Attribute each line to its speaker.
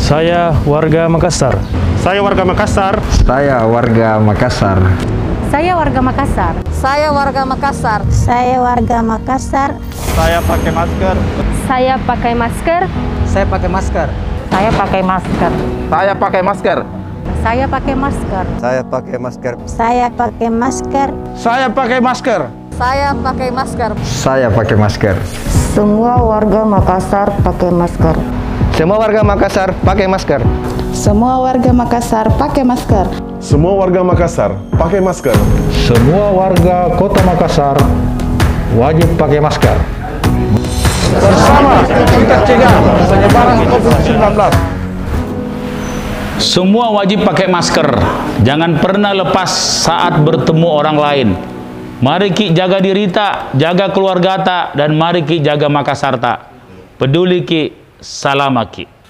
Speaker 1: Saya warga Makassar.
Speaker 2: Saya warga Makassar.
Speaker 3: Saya warga Makassar.
Speaker 4: Saya warga Makassar.
Speaker 5: Saya warga Makassar.
Speaker 6: Saya warga Makassar.
Speaker 2: Saya pakai masker.
Speaker 4: Saya pakai masker.
Speaker 7: Saya pakai masker.
Speaker 5: Saya pakai masker.
Speaker 2: Saya pakai masker.
Speaker 4: Saya pakai masker.
Speaker 3: Saya pakai masker.
Speaker 6: Saya pakai masker.
Speaker 2: Saya pakai masker.
Speaker 5: Saya pakai masker.
Speaker 3: Saya pakai masker.
Speaker 5: Semua warga Makassar pakai masker.
Speaker 7: Semua warga Makassar pakai masker.
Speaker 8: Semua warga Makassar pakai masker.
Speaker 9: Semua warga Makassar pakai masker.
Speaker 10: Semua warga Kota Makassar wajib pakai masker.
Speaker 2: Bersama kita cegah penyebaran COVID-19.
Speaker 11: Semua wajib pakai masker. Jangan pernah lepas saat bertemu orang lain. Mari ki jaga diri tak, jaga keluarga tak, dan mari ki jaga Makassar tak. Peduli ki, salamaki.